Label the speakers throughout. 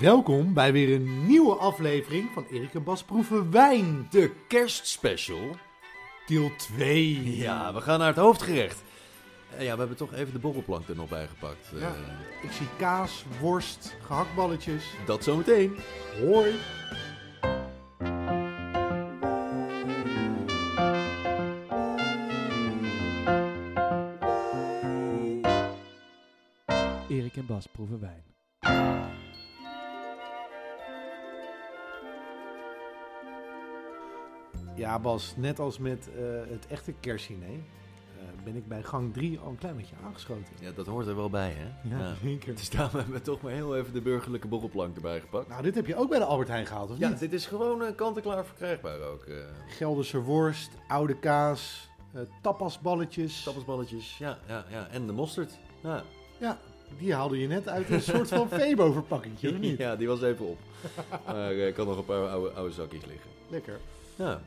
Speaker 1: Welkom bij weer een nieuwe aflevering van Erik en Bas proeven wijn.
Speaker 2: De kerstspecial.
Speaker 1: Deel 2.
Speaker 2: Ja, we gaan naar het hoofdgerecht. Eh, Ja, we hebben toch even de borrelplank er nog bij gepakt. Eh,
Speaker 1: Ja. Ik zie kaas, worst, gehaktballetjes.
Speaker 2: dat zometeen.
Speaker 1: Hoi.
Speaker 3: Erik en Bas proeven wijn.
Speaker 1: Ja Bas, net als met eh, het echte kerstdiner eh, ben ik bij gang 3 al een klein beetje aangeschoten.
Speaker 2: Ja, dat hoort er wel bij, hè?
Speaker 1: zeker.
Speaker 2: Dus daarom hebben we toch maar heel even de burgerlijke borrelplank erbij gepakt.
Speaker 1: Nou, dit heb je ook bij de Albert Heijn gehaald, of
Speaker 2: Ja,
Speaker 1: niet?
Speaker 2: dit is gewoon eh, kant-en-klaar verkrijgbaar ook. eh
Speaker 1: Gelderse worst, oude kaas, eh, tapasballetjes.
Speaker 2: tapasballetjes, ja, ja, ja. En de mosterd. Ja.
Speaker 1: Ja, die haalde je net uit een soort van Febo-verpakkingje, of niet?
Speaker 2: ja, die was even op. Maar eh, ik had nog een paar oude, oude zakjes liggen.
Speaker 1: Lekker.
Speaker 2: Ja,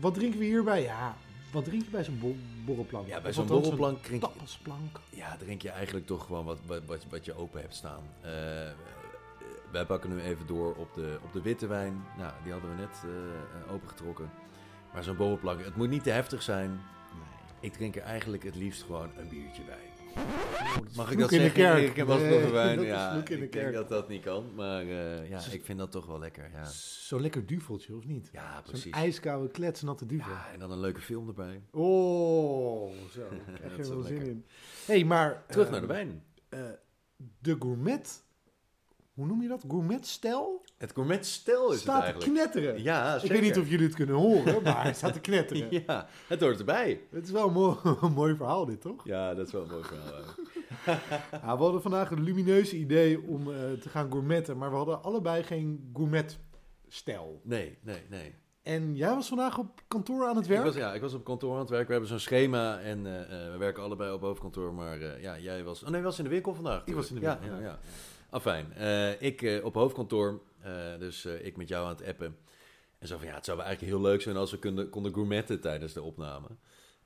Speaker 1: Wat drinken we hierbij? Ja, wat drink je bij zo'n bo- borrelplank?
Speaker 2: ja bij
Speaker 1: Of
Speaker 2: zo'n
Speaker 1: althans
Speaker 2: borrelplank
Speaker 1: Een
Speaker 2: drink je-
Speaker 1: tapasplank.
Speaker 2: Ja, drink je eigenlijk toch gewoon wat, wat, wat, wat je open hebt staan. Eh, eh, wij pakken nu even door op de, op de witte wijn. Nou, die hadden we net eh, eh, opengetrokken. Maar zo'n borrelplank, het moet niet te heftig zijn. Ik drink er eigenlijk het liefst gewoon een biertje bij. Mag ik dat
Speaker 1: vloek in de
Speaker 2: zeggen?
Speaker 1: kerk.
Speaker 2: Ik heb wel
Speaker 1: Nee,
Speaker 2: nog wijn.
Speaker 1: dat is
Speaker 2: ja,
Speaker 1: vloek in de
Speaker 2: ik denk
Speaker 1: kerk.
Speaker 2: dat dat niet kan. Maar eh, ja,
Speaker 1: Zo-
Speaker 2: ik vind dat toch wel lekker. Ja,
Speaker 1: Zo'n lekker duveltje, of niet?
Speaker 2: ja
Speaker 1: Zo'n
Speaker 2: precies.
Speaker 1: ijskoude, kletsnatte duvel.
Speaker 2: Ja, en dan een leuke film erbij.
Speaker 1: Ehm, Oh, zo. Ik
Speaker 2: Dat
Speaker 1: krijg er
Speaker 2: is
Speaker 1: wel
Speaker 2: wel
Speaker 1: zin
Speaker 2: lekker.
Speaker 1: in. hey, maar...
Speaker 2: Terug
Speaker 1: eh,
Speaker 2: naar de wijn.
Speaker 1: eh, de gourmet... Hoe noem je dat? Gourmetstel?
Speaker 2: Het gourmet stel is
Speaker 1: Staat
Speaker 2: het
Speaker 1: te
Speaker 2: eigenlijk.
Speaker 1: knetteren.
Speaker 2: Ja,
Speaker 1: ik weet niet
Speaker 2: zeker.
Speaker 1: of jullie het kunnen horen, maar hij staat te knetteren.
Speaker 2: Ja, het hoort erbij.
Speaker 1: Het is wel een mooi, een mooi verhaal dit, toch?
Speaker 2: Ja, dat is wel een mooi verhaal. hè.
Speaker 1: Ja, we hadden vandaag een lumineuze idee om eh, te gaan gourmetten, maar we hadden allebei geen gourmetstijl.
Speaker 2: Nee, nee, nee.
Speaker 1: En jij was vandaag op kantoor aan het werk?
Speaker 2: Ik was, ja, ik was op kantoor aan het werken. We hebben zo'n schema en eh, eh, we werken allebei op hoofdkantoor. Maar eh, ja, jij was... Oh nee, je was in de winkel vandaag.
Speaker 1: Ik was in de
Speaker 2: Ja,
Speaker 1: winkel,
Speaker 2: eh, Ja,
Speaker 1: ja.
Speaker 2: ja. Afijn. Eh, ik eh, op hoofdkantoor, eh, dus eh, ik met jou aan het appen. En zo van, ja, het zou wel eigenlijk heel leuk zijn als we konden, konden gourmetten tijdens de opname.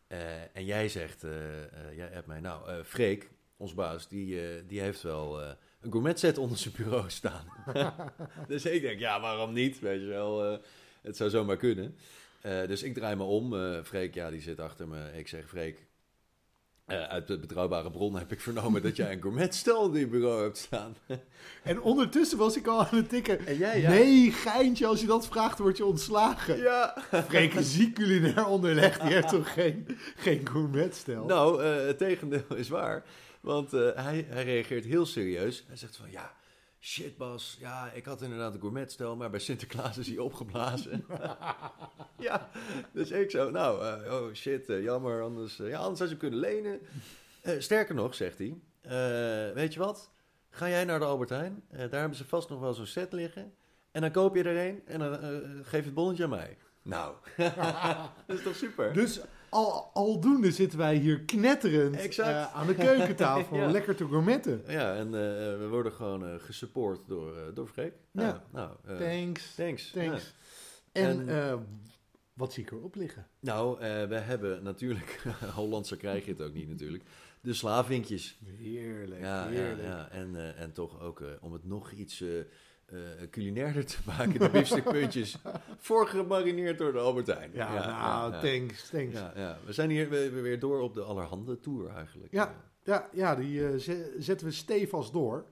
Speaker 2: Eh, en jij zegt, eh, eh, jij appt mij, nou, eh Freek, ons baas, die, eh, die heeft wel eh, een gourmet set onder zijn bureau staan. dus ik denk, ja, waarom niet? Weet je wel, eh, het zou zomaar kunnen. Eh, dus ik draai me om. Eh, Freek, ja, die zit achter me. Ik zeg, Freek, eh, uit de betrouwbare bron heb ik vernomen dat jij een gourmetstel in je bureau hebt staan.
Speaker 1: En ondertussen was ik al aan het tikken.
Speaker 2: En jij, ja.
Speaker 1: Nee, geintje, als je dat vraagt, word je ontslagen.
Speaker 2: ja.
Speaker 1: Freek is ziek culinair onderlegd, die heeft toch geen, geen gourmetstijl?
Speaker 2: Nou, eh, het tegendeel is waar. Want eh, hij, hij reageert heel serieus. Hij zegt van, ja, shit Bas. Ja, ik had inderdaad een gourmetstel, maar bij Sinterklaas is hij opgeblazen. ja, dus ik zo, nou, eh, oh shit, eh, jammer. Anders, eh, ja, anders had je hem kunnen lenen. Eh, sterker nog, zegt hij, eh, weet je wat? Ga jij naar de Albert Heijn. Eh, daar hebben ze vast nog wel zo'n set liggen. En dan koop je er een en dan eh, geef het bonnetje aan mij. Nou, dat is toch super?
Speaker 1: Dus al, aldoende zitten wij hier knetterend
Speaker 2: Exact.
Speaker 1: eh, aan de keukentafel,
Speaker 2: Ja.
Speaker 1: lekker te gourmetten.
Speaker 2: Ja, en eh, we worden gewoon eh, gesupport door, eh door Freek.
Speaker 1: Ja.
Speaker 2: Ah, nou, eh,
Speaker 1: Thanks.
Speaker 2: thanks.
Speaker 1: Thanks.
Speaker 2: Ja.
Speaker 1: En,
Speaker 2: En-
Speaker 1: eh, wat zie ik erop liggen?
Speaker 2: Nou, eh, we hebben natuurlijk, Hollandse krijg je het ook niet natuurlijk, de slaavinkjes.
Speaker 1: Heerlijk,
Speaker 2: Ja, ja,
Speaker 1: heerlijk.
Speaker 2: ja. En, eh, en toch ook eh, om het nog iets eh, eh, culinairder te maken, de biefstukpuntjes, voorgemarineerd door de Albert Heijn.
Speaker 1: Ja,
Speaker 2: ja,
Speaker 1: nou,
Speaker 2: ja.
Speaker 1: thanks, thanks. Ja,
Speaker 2: Ja, ja. we zijn hier we- we weer door op de allerhande tour eigenlijk.
Speaker 1: Ja. ja, die eh, ze- zetten we stevast door.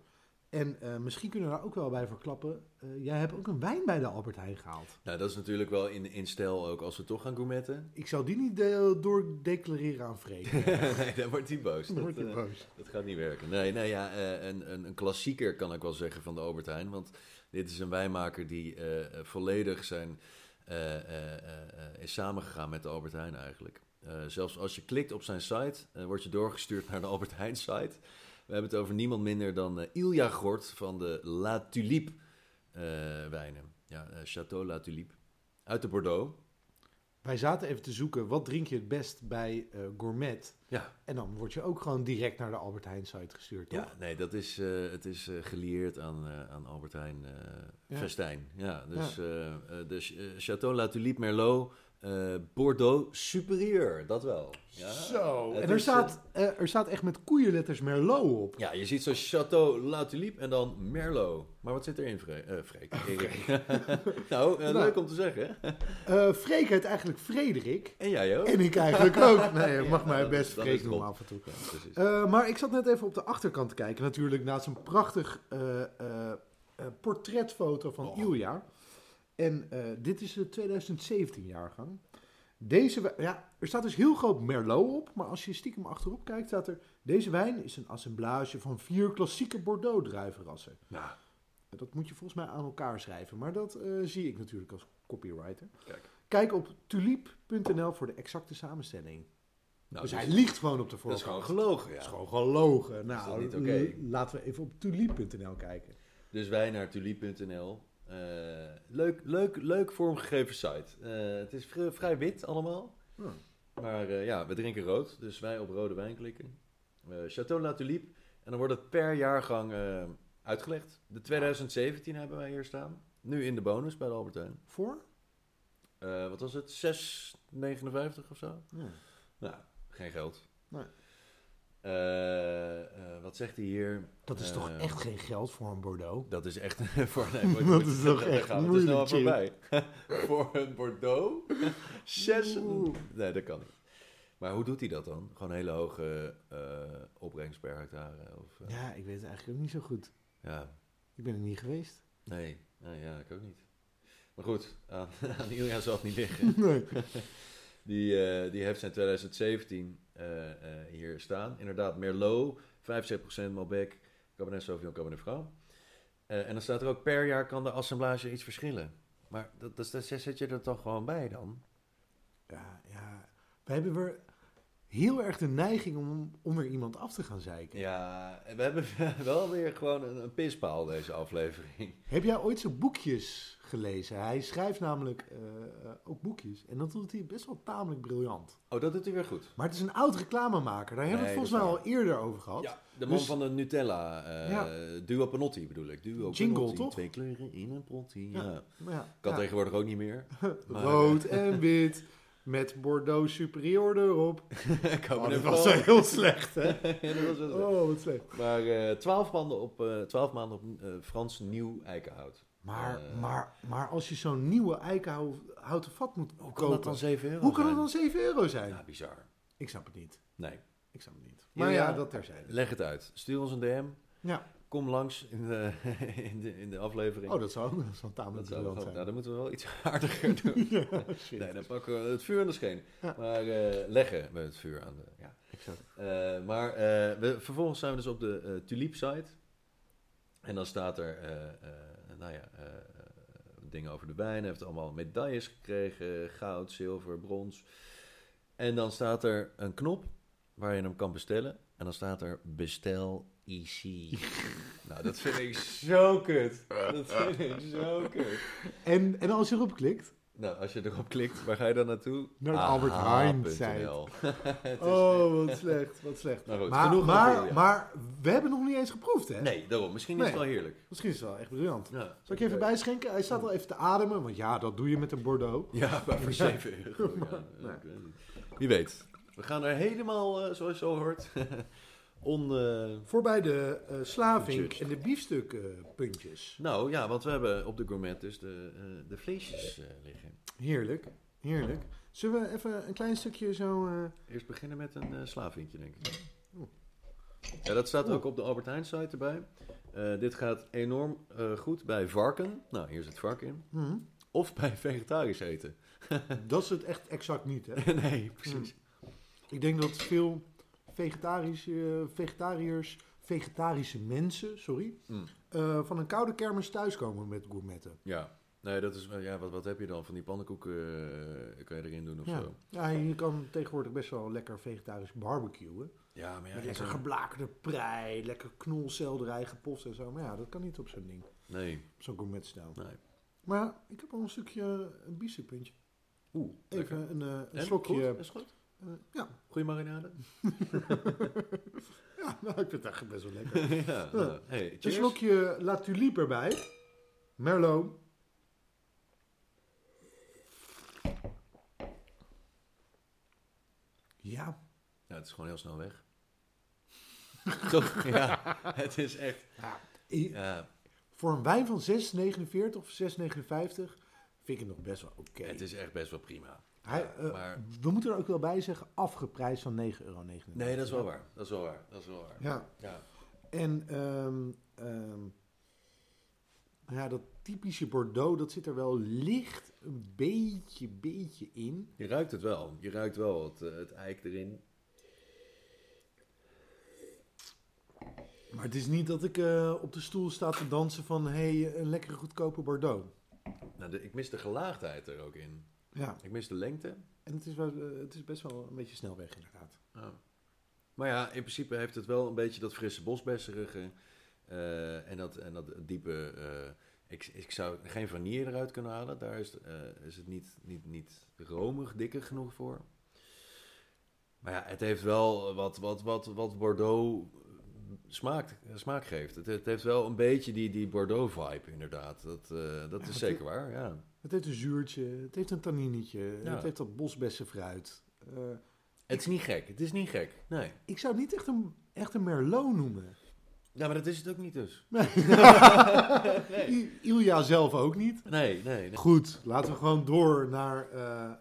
Speaker 1: En eh, misschien kunnen we daar ook wel bij verklappen. eh, jij hebt ook een wijn bij de Albert Heijn gehaald.
Speaker 2: Nou, dat is natuurlijk wel in, in stijl ook als we toch gaan gourmetten.
Speaker 1: Ik zou die niet de- doordeclareren aan Freek.
Speaker 2: nee, dan wordt hij boos.
Speaker 1: Dan wordt hij
Speaker 2: eh,
Speaker 1: boos.
Speaker 2: Dat gaat niet werken. Nee, nee ja, eh, een, een, een klassieker kan ik wel zeggen van de Albert Heijn. Want dit is een wijnmaker die eh, eh, volledig zijn, eh, eh, eh, eh, is samengegaan met de Albert Heijn eigenlijk. Eh, zelfs als je klikt op zijn site, eh, word je doorgestuurd naar de Albert Heijn site. We hebben het over niemand minder dan eh, Ilja Gort van de La Tulipe eh, wijnen. Ja, eh, Château La Tulipe. Uit de Bordeaux.
Speaker 1: Wij zaten even te zoeken, wat drink je het best bij eh, Gourmet?
Speaker 2: Ja.
Speaker 1: En dan word je ook gewoon direct naar de Albert Heijn site gestuurd, toch?
Speaker 2: Ja, nee, dat is, eh, het is eh, gelieerd aan, eh, aan Albert Heijn eh,
Speaker 1: Ja.
Speaker 2: Festijn. Ja, dus eh, eh, de Ch- eh, Château La Tulipe Merlot eh, Bordeaux superieur, dat wel. Ja.
Speaker 1: Zo.
Speaker 2: Het
Speaker 1: En er
Speaker 2: is,
Speaker 1: staat,
Speaker 2: eh,
Speaker 1: eh, er staat echt met koeienletters Merlot op.
Speaker 2: ja, je ziet zo Chateau La Tulipe en dan Merlot. Maar wat zit erin, Fre eh, Freek? Erik. nou, eh,
Speaker 1: Oh, Nou.
Speaker 2: leuk om te zeggen.
Speaker 1: Eh Freek heet eigenlijk Frederik.
Speaker 2: En jij ook.
Speaker 1: En ik eigenlijk ook. Nee, je mag
Speaker 2: Ja,
Speaker 1: mij
Speaker 2: dat
Speaker 1: best
Speaker 2: is- dat
Speaker 1: Freek
Speaker 2: is
Speaker 1: noemen
Speaker 2: top.
Speaker 1: af en toe.
Speaker 2: Ja, precies.
Speaker 1: Eh, maar ik zat net even op de achterkant te kijken. Natuurlijk naast een prachtig eh, eh, eh, portretfoto van
Speaker 2: Oh.
Speaker 1: Ilja. En eh, dit is de 2017-jaargang. Deze wijn- ja, er staat dus heel groot Merlot op. Maar als je stiekem achterop kijkt, staat er... Deze wijn is een assemblage van vier klassieke Bordeaux-druivenrassen.
Speaker 2: Nou,
Speaker 1: Dat moet je volgens mij aan elkaar schrijven. Maar dat eh, zie ik natuurlijk als copywriter.
Speaker 2: Kijk.
Speaker 1: Kijk op tuliep.nl voor de exacte samenstelling.
Speaker 2: nou,
Speaker 1: dus
Speaker 2: dat
Speaker 1: hij
Speaker 2: is-
Speaker 1: liegt gewoon op de
Speaker 2: dat is
Speaker 1: voorkant.
Speaker 2: gewoon gelogen,
Speaker 1: Dat
Speaker 2: ja.
Speaker 1: is gewoon gelogen.
Speaker 2: Is dat
Speaker 1: Nou,
Speaker 2: niet oké?
Speaker 1: l- laten we even op tuliep.nl kijken.
Speaker 2: Dus wij naar tuliep.nl. Eh, leuk, leuk, leuk vormgegeven site. Eh, het is vri- vrij wit allemaal.
Speaker 1: Ja.
Speaker 2: Maar eh, ja, we drinken rood. Dus wij op rode wijn klikken. Eh, Chateau La Tulipe. En dan wordt het per jaargang eh, uitgelegd. De 2017 hebben wij hier staan. Nu in de bonus bij de Albert Heijn.
Speaker 1: Voor?
Speaker 2: Eh, wat was het? 6,59 of zo? Nou, geen geld.
Speaker 1: Nee.
Speaker 2: Eh, eh, wat zegt hij hier?
Speaker 1: Dat is toch
Speaker 2: Eh,
Speaker 1: echt geen geld voor een Bordeaux?
Speaker 2: Dat is echt voor nee, voor-
Speaker 1: Dat is toch
Speaker 2: daar
Speaker 1: echt
Speaker 2: gaan we te snel aan
Speaker 1: moeilijk,
Speaker 2: voorbij. voor een Bordeaux? Zes? Nee, dat kan niet. Maar hoe doet hij dat dan? Gewoon een hele hoge eh, opbrengst per hectare? Of, eh, ja.
Speaker 1: Ja, ik weet het eigenlijk ook niet zo goed. Ik ben er niet geweest.
Speaker 2: Nee, nee, ja, ik ook niet. Maar goed, aan, aan Ilja zal het niet liggen.
Speaker 1: Nee.
Speaker 2: Die, eh, die heeft zijn 2017 eh, eh, hier staan. Inderdaad, Merlot, 75% Malbec, Cabernet Sauvignon, Cabernet Franc. Eh, en dan staat er ook per jaar kan de assemblage iets verschillen. Maar dat, dat, dat- zet je er toch gewoon bij dan?
Speaker 1: Ja, ja. We hebben weer heel erg de neiging om onder iemand af te gaan zeiken.
Speaker 2: Ja, we hebben wel weer gewoon een, een pispaal deze aflevering.
Speaker 1: Heb jij ooit zijn boekjes gelezen? Hij schrijft namelijk eh, eh, ook boekjes. En dat doet hij best wel tamelijk briljant.
Speaker 2: Oh, dat doet hij weer goed.
Speaker 1: Maar het is een oud reclamemaker. Daar hebben we
Speaker 2: Nee,
Speaker 1: het volgens mij
Speaker 2: dat is
Speaker 1: al eerder over gehad.
Speaker 2: Ja, de man
Speaker 1: Dus-
Speaker 2: van de Nutella. eh Duo Panotti bedoel ik. Duo
Speaker 1: Jingle,
Speaker 2: Panotti.
Speaker 1: toch?
Speaker 2: Twee kleuren in een potty.
Speaker 1: Ja.
Speaker 2: Ja.
Speaker 1: Maar ja,
Speaker 2: Kan
Speaker 1: ja.
Speaker 2: tegenwoordig ook niet meer. Maar- eh,
Speaker 1: Rood en wit. Met Bordeaux Superieur erop.
Speaker 2: Cabernet
Speaker 1: Oh, dat
Speaker 2: Franc.
Speaker 1: was wel heel slecht, hè?
Speaker 2: Ja, dat was wel zo.
Speaker 1: Oh, wat slecht.
Speaker 2: Maar eh, 12 maanden op, eh, 12 maanden op eh, Frans nieuw eikenhout.
Speaker 1: Maar,
Speaker 2: Eh.
Speaker 1: maar, maar als je zo'n nieuwe eikenhouten vat moet
Speaker 2: Hoe kan
Speaker 1: kopen...
Speaker 2: dat dan 7 euro
Speaker 1: hoe kan dat
Speaker 2: zijn?
Speaker 1: dan 7 euro zijn?
Speaker 2: Ja, bizar.
Speaker 1: Ik snap het niet.
Speaker 2: Nee,
Speaker 1: Ik snap het niet. Maar ja,
Speaker 2: Ja.
Speaker 1: dat terzijde.
Speaker 2: leg het uit. Stuur ons een DM.
Speaker 1: Ja.
Speaker 2: Kom langs in de, in de, in de aflevering.
Speaker 1: Oh, dat zou ook zo'n
Speaker 2: Dat
Speaker 1: tamelijk
Speaker 2: zou wel-
Speaker 1: briljant
Speaker 2: nou,
Speaker 1: zijn.
Speaker 2: dan moeten we wel iets aardiger doen.
Speaker 1: Ja, shit.
Speaker 2: Nee, dan pakken we het vuur aan de scheen.
Speaker 1: Ja.
Speaker 2: Maar eh, leggen we het vuur aan de... Ja.
Speaker 1: Exact.
Speaker 2: Eh, maar eh, we, vervolgens zijn we dus op de eh Tulip-site. En dan staat er, eh, eh, nou ja, eh, eh, dingen over de wijn. Hij heeft allemaal medailles gekregen. Goud, zilver, brons. En dan staat er een knop waar je hem kan bestellen. En dan staat er bestel IC. nou, dat vind ik zo kut. Dat vind ik zo kut.
Speaker 1: En, en als je erop klikt...
Speaker 2: Nou, als je erop klikt, waar ga je dan naartoe?
Speaker 1: Naar de Albert Heijn
Speaker 2: AH.nl. Het is-
Speaker 1: Oh, wat slecht, wat slecht.
Speaker 2: Nou goed,
Speaker 1: maar,
Speaker 2: genoeg
Speaker 1: maar,
Speaker 2: over Ilja.
Speaker 1: maar we hebben nog niet eens geproefd, hè?
Speaker 2: Nee, daarom. Misschien is
Speaker 1: Nee.
Speaker 2: het wel heerlijk.
Speaker 1: Misschien is het wel echt briljant.
Speaker 2: Ja. Eh,
Speaker 1: Zal ik je even bijschenken? Hij staat al even te ademen, want ja, dat doe je met een Bordeaux.
Speaker 2: Ja, maar voor 7 euro. ja.
Speaker 1: nee.
Speaker 2: Ik weet niet. Wie weet. We gaan er helemaal, eh, zoals je al hoort, on... eh,
Speaker 1: Voorbij de eh slavink
Speaker 2: Judge.
Speaker 1: en de eh, biefstukpuntjes.
Speaker 2: Nou ja, want we hebben op de gourmet dus de, eh, de vleesjes eh, liggen.
Speaker 1: heerlijk, heerlijk. Zullen we even een klein stukje zo... eh,
Speaker 2: Eerst beginnen met een eh slavinkje, denk ik. Ja, dat staat ook op de Albert Heijn site erbij. Eh, dit gaat enorm eh, goed bij varken. Nou, hier zit varken in.
Speaker 1: hm?
Speaker 2: Of bij vegetarisch eten.
Speaker 1: Dat is het echt exact niet, hè?
Speaker 2: nee, precies.
Speaker 1: Ik denk dat veel vegetarische, vegetariërs, vegetarische mensen, sorry,
Speaker 2: Mm.
Speaker 1: eh, van een koude kermis thuiskomen met gourmetten.
Speaker 2: Ja. Nee, dat is, wel- ja, wat, wat heb je dan? Van die pannenkoeken eh, kan je erin doen of
Speaker 1: Ja.
Speaker 2: zo?
Speaker 1: ja, je kan tegenwoordig best wel lekker vegetarisch barbecuen.
Speaker 2: Ja, maar ja,
Speaker 1: met
Speaker 2: je
Speaker 1: lekker
Speaker 2: kan-
Speaker 1: geblakerde prei, lekker knolselderij gepost en zo. Maar ja, dat kan niet op zo'n ding,
Speaker 2: Nee,
Speaker 1: op zo'n gourmetstijl.
Speaker 2: nee.
Speaker 1: Maar ik heb al een stukje, een biefstukpuntje.
Speaker 2: Oeh, lekker.
Speaker 1: Even een, eh, een
Speaker 2: En?
Speaker 1: slokje.
Speaker 2: Goed? Is goed?
Speaker 1: eh, ja.
Speaker 2: Goeie marinade?
Speaker 1: ja, nou, ik vind het eigenlijk best wel lekker.
Speaker 2: ja. nou, Hey,
Speaker 1: een
Speaker 2: cheers.
Speaker 1: slokje La Tulipe erbij. Merlot. Ja,
Speaker 2: Ja, het is gewoon heel snel weg. Toch? Ja, het is echt...
Speaker 1: i-
Speaker 2: Ja,
Speaker 1: voor een wijn van 6,49 of 6,59 vind ik het nog best wel oké.
Speaker 2: het is echt best wel prima.
Speaker 1: Hij,
Speaker 2: Ja,
Speaker 1: eh,
Speaker 2: maar-
Speaker 1: We moeten er ook wel bij zeggen, afgeprijsd van 9,99 euro.
Speaker 2: Nee, dat is wel waar. Dat is wel waar. Dat is wel waar.
Speaker 1: Ja,
Speaker 2: Ja.
Speaker 1: en ehm, ehm, ja, dat typische Bordeaux, dat zit er wel licht een beetje, beetje in.
Speaker 2: Je ruikt het wel. Je ruikt wel het, eh, het eik erin.
Speaker 1: Maar het is niet dat ik eh, op de stoel sta te dansen van, hé, hey, een lekkere goedkope Bordeaux.
Speaker 2: Nou, de- ik mis de gelaagdheid er ook in.
Speaker 1: Ja,
Speaker 2: Ik mis de lengte.
Speaker 1: en het is, wel, eh, het is best wel een beetje snel weg inderdaad.
Speaker 2: Ja. Maar ja, in principe heeft het wel een beetje dat frisse bosbesserige eh, en, dat, en dat diepe... eh, ik, ik zou geen vanille eruit kunnen halen. Daar is, het, eh, is het niet, niet, niet romig, dikker genoeg voor. Maar ja, het heeft wel wat, wat, wat, wat Bordeaux smaakt, smaak geeft. Het, het heeft wel een beetje die, die Bordeaux-vibe, inderdaad. Dat, eh,
Speaker 1: Ja,
Speaker 2: dat is
Speaker 1: het-
Speaker 2: zeker waar, ja.
Speaker 1: Het heeft een zuurtje, het heeft een tanninetje,
Speaker 2: Ja.
Speaker 1: het heeft dat bosbessenfruit. Eh,
Speaker 2: Het is niet gek, het is niet gek. Nee.
Speaker 1: ik zou het niet echt een, echt een Merlot noemen.
Speaker 2: Ja, maar dat is het ook niet dus.
Speaker 1: I- Ilja zelf ook niet.
Speaker 2: Nee, nee. nee.
Speaker 1: Goed, laten we gewoon door naar eh, eh,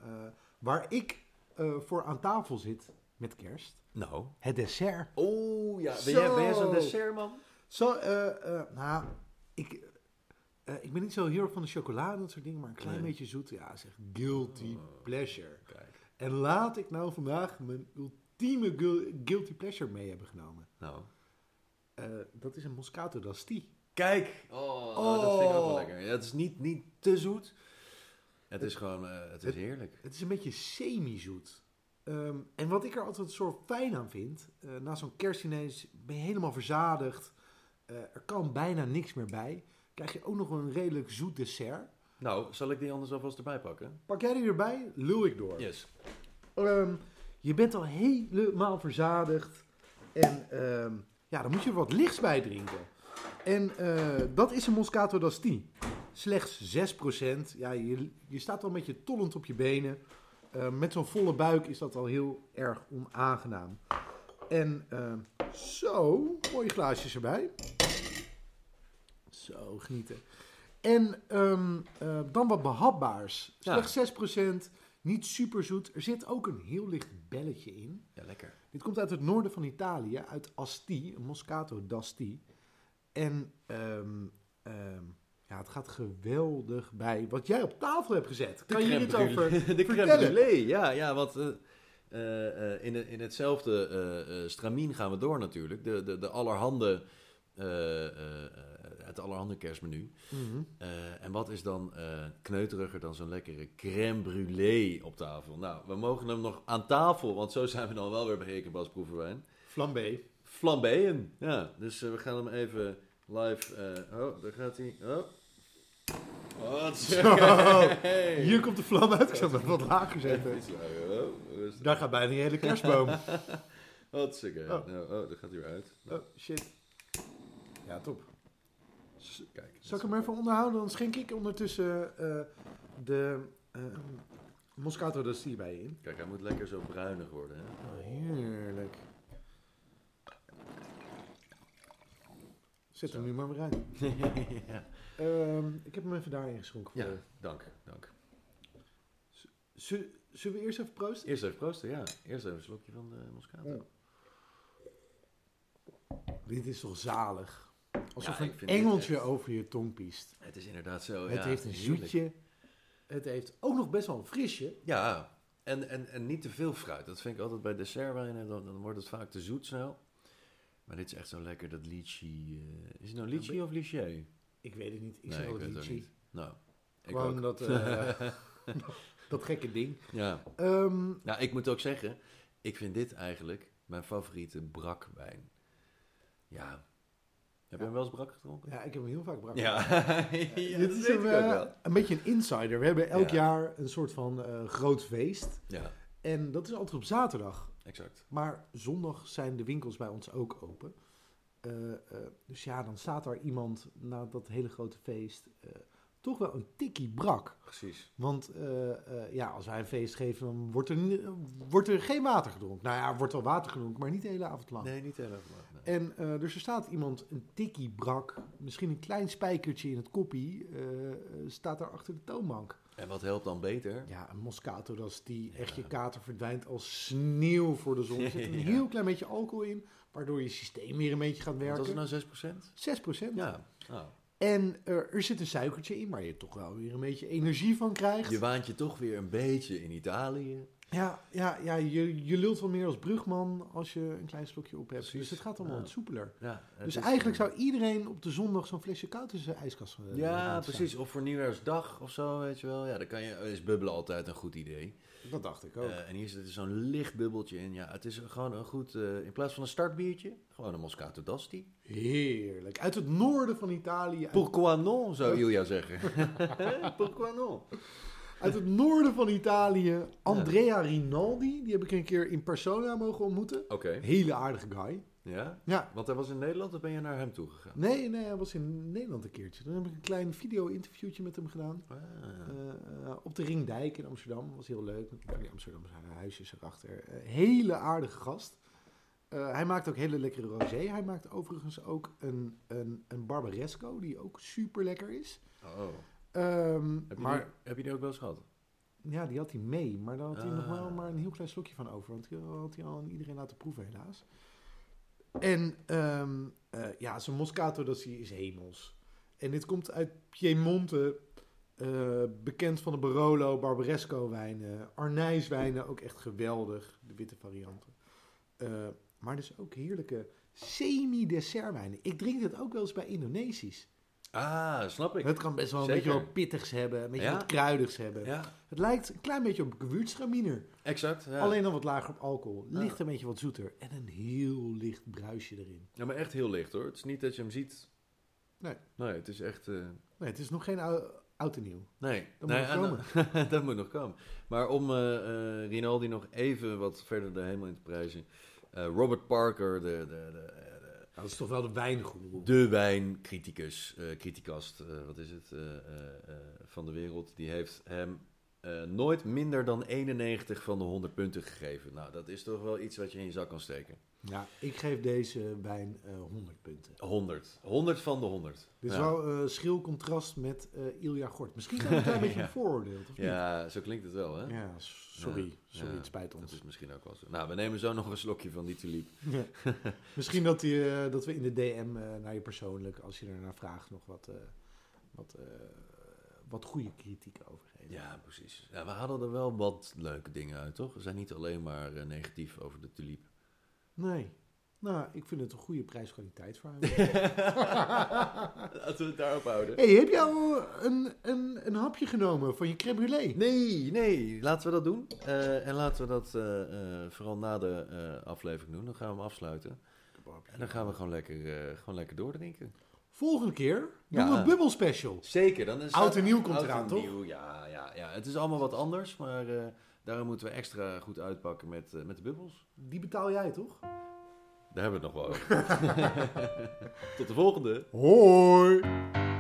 Speaker 1: waar ik eh, voor aan tafel zit met kerst.
Speaker 2: Nou,
Speaker 1: Het dessert.
Speaker 2: Oh ja,
Speaker 1: Ben jij- ben jij zo'n
Speaker 2: dessertman?
Speaker 1: Zo, eh, eh, nou, ik, eh, ik ben niet zo heel erg van de chocolade en dat soort dingen, maar een klein
Speaker 2: Nee.
Speaker 1: beetje zoet. Ja, zeg guilty pleasure.
Speaker 2: Kijk.
Speaker 1: En laat ik nou vandaag mijn ultieme gu- guilty pleasure mee hebben genomen.
Speaker 2: Nou.
Speaker 1: Eh, dat is een Moscato d'Asti.
Speaker 2: Kijk! Oh, dat vind ik ook wel lekker. Ja, het is niet, niet te zoet. Het is gewoon, eh, het is
Speaker 1: het-
Speaker 2: heerlijk.
Speaker 1: Het is een beetje semi-zoet. Ehm, en wat ik er altijd soort fijn aan vind, eh, na zo'n kerstdiner ben je helemaal verzadigd. Eh, er kan bijna niks meer bij. Krijg je ook nog een redelijk zoet dessert.
Speaker 2: Nou, zal ik die anders alvast erbij pakken?
Speaker 1: Pak jij die erbij, lul ik door.
Speaker 2: Yes.
Speaker 1: Ehm, je bent al helemaal verzadigd. En ehm, ja, dan moet je er wat lichts bij drinken. En eh, dat is een Moscato d'Asti. Slechts 6%. Ja, je, je staat al met je tollend op je benen. Eh, met zo'n volle buik is dat al heel erg onaangenaam. En eh, zo, mooie glaasjes erbij. Zo, genieten. En ehm, eh, dan wat behapbaars.
Speaker 2: Ja.
Speaker 1: Slechts 6%, niet super zoet. Er zit ook een heel licht belletje in.
Speaker 2: Ja, lekker.
Speaker 1: Dit komt uit het noorden van Italië, uit Asti, een Moscato d'Asti. En ehm, ehm, ja, het gaat geweldig bij wat jij op tafel hebt gezet. Kan je hier iets over
Speaker 2: De crème
Speaker 1: vertellen?
Speaker 2: brûlée, ja, ja, want eh, eh, eh, in, het- in hetzelfde eh, eh, stramien gaan we door natuurlijk. De, de, de allerhande, eh, eh, eh, het allerhande kerstmenu.
Speaker 1: Mhm.
Speaker 2: Eh, en wat is dan eh, kneuteriger dan zo'n lekkere crème brûlée op tafel? Nou, we mogen hem nog aan tafel, want zo zijn we dan wel weer bij Erik en Bas Proeverwijn.
Speaker 1: Flambé.
Speaker 2: Flambéen, ja. Dus eh, we gaan hem even live... eh, oh, daar gaat hij. Oh. Wat
Speaker 1: Zo,
Speaker 2: zeg Hey.
Speaker 1: Hier komt de vlam uit. Ik zou hem wat lager zetten.
Speaker 2: Oh, rustig.
Speaker 1: Daar gaat bijna die hele kerstboom.
Speaker 2: Wat zeker.
Speaker 1: Oh.
Speaker 2: Nou, oh, daar gaat hij weer uit.
Speaker 1: Oh, shit. Ja, top.
Speaker 2: Kijk.
Speaker 1: Zal ik hem even onderhouden? Dan schenk ik ondertussen eh, de eh, Moscato d'Asti bij je in.
Speaker 2: Kijk, hij moet lekker zo bruinig worden, hè.
Speaker 1: Oh, heerlijk. Zet hem nu maar weer uit.
Speaker 2: ja.
Speaker 1: Ehm, ik heb hem even daarin geschonken. voor
Speaker 2: ja,
Speaker 1: je.
Speaker 2: Eh, dank, dank.
Speaker 1: Zul- Zullen we eerst even proosten?
Speaker 2: Eerst even proosten, ja. Eerst even een slokje van de Moscato.
Speaker 1: Ja. Dit is toch zalig? Alsof
Speaker 2: Ja, ik
Speaker 1: een
Speaker 2: vind dit
Speaker 1: engeltje
Speaker 2: echt-
Speaker 1: over je tong piest.
Speaker 2: Het is inderdaad zo, ja.
Speaker 1: het heeft een
Speaker 2: heerlijk.
Speaker 1: zoetje. Het heeft ook nog best wel een frisje.
Speaker 2: Ja, en, en, en niet te veel fruit. Dat vind ik altijd bij dessertwijnen, dan, dan wordt het vaak te zoet snel. Maar dit is echt zo lekker, dat lychee... eh, is het nou lychee of lychee?
Speaker 1: Ik weet het niet. Ik
Speaker 2: Nee,
Speaker 1: zeg
Speaker 2: ik weet
Speaker 1: altijd
Speaker 2: het ook
Speaker 1: lychee.
Speaker 2: niet. Nou, ik
Speaker 1: Gewoon
Speaker 2: ook.
Speaker 1: dat, eh, dat gekke ding.
Speaker 2: Ja.
Speaker 1: Ehm,
Speaker 2: Nou, ik moet ook zeggen, ik vind dit eigenlijk mijn favoriete brakwijn. Ja. Heb je hem wel eens brak gedronken?
Speaker 1: ja, ik heb hem heel vaak brak.
Speaker 2: ja
Speaker 1: Dit
Speaker 2: dat
Speaker 1: is
Speaker 2: weet
Speaker 1: een,
Speaker 2: ik ook
Speaker 1: eh,
Speaker 2: wel.
Speaker 1: een beetje een insider. We hebben elk
Speaker 2: Ja.
Speaker 1: jaar een soort van eh, groot feest.
Speaker 2: Ja,
Speaker 1: En dat is altijd op zaterdag.
Speaker 2: exact.
Speaker 1: Maar zondag zijn de winkels bij ons ook open. Eh, eh, dus ja, dan staat daar iemand na dat hele grote feest. eh, toch wel een tikkie brak.
Speaker 2: Precies.
Speaker 1: Want eh, eh, ja, als wij een feest geven, dan wordt er, ni- wordt er geen water gedronken. Nou ja, er wordt wel water gedronken, maar niet de hele avond lang.
Speaker 2: Nee, niet helemaal. Nee.
Speaker 1: En eh, dus er staat iemand, een tikkie brak, misschien een klein spijkertje in het koppie, eh, eh, staat daar achter de toonbank.
Speaker 2: En wat helpt dan beter?
Speaker 1: Ja, een Moscato, dat is die
Speaker 2: Ja.
Speaker 1: echt je kater verdwijnt als sneeuw voor de zon. Er zit een
Speaker 2: Ja.
Speaker 1: heel klein beetje alcohol in, waardoor je systeem weer een beetje gaat
Speaker 2: Wat
Speaker 1: werken.
Speaker 2: was het nou 6%?
Speaker 1: 6%.
Speaker 2: Ja. Nou,
Speaker 1: En eh, er zit een suikertje in, waar je toch wel weer een beetje energie van krijgt.
Speaker 2: je waant je toch weer een beetje in Italië.
Speaker 1: Ja, ja, ja je, je lult wel meer als brugman als je een klein slokje op hebt.
Speaker 2: Precies.
Speaker 1: Dus het gaat allemaal
Speaker 2: Ja.
Speaker 1: wat soepeler.
Speaker 2: Ja, het
Speaker 1: Dus
Speaker 2: is- eh,
Speaker 1: eigenlijk zou iedereen op de zondag zo'n flesje koud in zijn ijskast eh,
Speaker 2: Ja,
Speaker 1: laten staan.
Speaker 2: precies. Of voor Nieuwjaarsdag of zo, weet je wel. Ja, dan kan je, is bubbelen altijd een goed idee.
Speaker 1: Dat dacht ik ook.
Speaker 2: Eh, en hier zit er zo'n licht bubbeltje in. Ja, het is gewoon een goed, eh, in plaats van een startbiertje, gewoon een Moscato d'Asti.
Speaker 1: Heerlijk. Uit het noorden van Italië. Uit,
Speaker 2: Pourquoi non, zou Ilja zeggen. Pourquoi non?
Speaker 1: uit het noorden van Italië. Andrea Rinaldi. Die heb ik een keer in persona mogen ontmoeten.
Speaker 2: Oké,
Speaker 1: Hele aardige guy.
Speaker 2: ja.
Speaker 1: Ja.
Speaker 2: Want hij was in Nederland, dan ben je naar hem toegegaan.
Speaker 1: Nee, nee, hij was in Nederland een keertje. Toen heb ik een klein video-interviewtje met hem gedaan.
Speaker 2: Ah,
Speaker 1: Eh, eh, op de Ringdijk in Amsterdam. Was heel leuk. Met die Amsterdamse huisjes erachter. Eh, hele aardige gast. Eh, hij maakt ook hele lekkere rosé. Hij maakt overigens ook een, een, een Barbaresco, die ook super lekker is.
Speaker 2: oh.
Speaker 1: Ehm,
Speaker 2: Heb, je
Speaker 1: maar
Speaker 2: die, heb je die ook wel eens gehad?
Speaker 1: ja, die had hij mee, maar daar had hij
Speaker 2: Ah.
Speaker 1: nog wel maar een heel klein slokje van over. Want die had hij al aan iedereen laten proeven, helaas. En ehm, eh, ja, zijn Moscato, dat is, is hemels. En dit komt uit Piemonte, eh, bekend van de Barolo, Barbaresco wijnen, Arnijswijnen, ook echt geweldig, de witte varianten. Eh, maar dus ook heerlijke semi-dessertwijnen. Ik drink dit ook wel eens bij Indonesisch.
Speaker 2: Ah, snap ik.
Speaker 1: Het kan best wel een
Speaker 2: Zeker.
Speaker 1: beetje wat pittigs hebben, een beetje
Speaker 2: Ja.
Speaker 1: wat kruidigs hebben.
Speaker 2: Ja,
Speaker 1: Het lijkt een klein beetje op gewürztraminer.
Speaker 2: exact. Ja.
Speaker 1: Alleen dan wat lager op alcohol. Licht
Speaker 2: Ja.
Speaker 1: een beetje wat zoeter. En een heel licht bruisje erin.
Speaker 2: Ja, maar echt heel licht hoor. Het is niet dat je hem ziet.
Speaker 1: Nee.
Speaker 2: Nee, het is echt... eh,
Speaker 1: Nee, het is nog geen ou- oud en nieuw.
Speaker 2: Nee,
Speaker 1: Dat
Speaker 2: nee,
Speaker 1: moet nog
Speaker 2: en dan- dat moet nog komen. Maar om eh, eh, Rinaldi nog even wat verder de hemel in te prijzen. eh, Robert Parker, de, de, de, eh, de,
Speaker 1: Dat is toch wel de wijngoeroe.
Speaker 2: de wijncriticus, eh criticast, eh, wat is het, eh, eh, eh, van de wereld, die heeft hem eh, nooit minder dan 91 van de 100 punten gegeven. Nou, dat is toch wel iets wat je in je zak kan steken.
Speaker 1: Ja, ik geef deze wijn eh 100 punten.
Speaker 2: 100. 100 van de 100.
Speaker 1: Dit is
Speaker 2: Ja.
Speaker 1: wel eh, schil contrast met eh Ilja Gort. Misschien zijn we een klein beetje
Speaker 2: Ja.
Speaker 1: vooroordeeld, of niet?
Speaker 2: Ja, zo klinkt het wel, hè?
Speaker 1: Ja, s- sorry.
Speaker 2: Ja.
Speaker 1: Sorry,
Speaker 2: Ja.
Speaker 1: het spijt
Speaker 2: Dat
Speaker 1: ons.
Speaker 2: is misschien ook wel zo. Nou, we nemen zo nog een slokje van die tulip.
Speaker 1: Ja. Misschien dat, die, eh, dat we in de DM eh, naar je persoonlijk, als je ernaar vraagt, nog wat, eh, wat, eh, wat goede kritiek over geven.
Speaker 2: Ja, precies. Ja, we hadden er wel wat leuke dingen uit, toch? We zijn niet alleen maar eh, negatief over de tulip.
Speaker 1: Nee. Nou, ik vind het een goede prijs-kwaliteit verhouding.
Speaker 2: Laten we het daarop houden.
Speaker 1: hey, heb jij al een, een, een hapje genomen van je crème brûlée?
Speaker 2: Nee, nee, laten we dat doen. Eh, en laten we dat eh, eh, vooral na de eh, aflevering doen. Dan gaan we hem afsluiten. En dan gaan we gewoon lekker, eh, gewoon lekker doordrinken.
Speaker 1: Volgende keer doen
Speaker 2: Ja.
Speaker 1: we een bubbel special.
Speaker 2: Zeker. Dan is
Speaker 1: Oud en nieuw komt
Speaker 2: Oud en
Speaker 1: eraan, toch?
Speaker 2: nieuw, ja, ja, ja. Het is allemaal wat anders, maar eh, daarom moeten we extra goed uitpakken met, eh, met de bubbels.
Speaker 1: Die betaal jij toch?
Speaker 2: Daar hebben we het nog wel over. Tot de volgende.
Speaker 1: Hoi!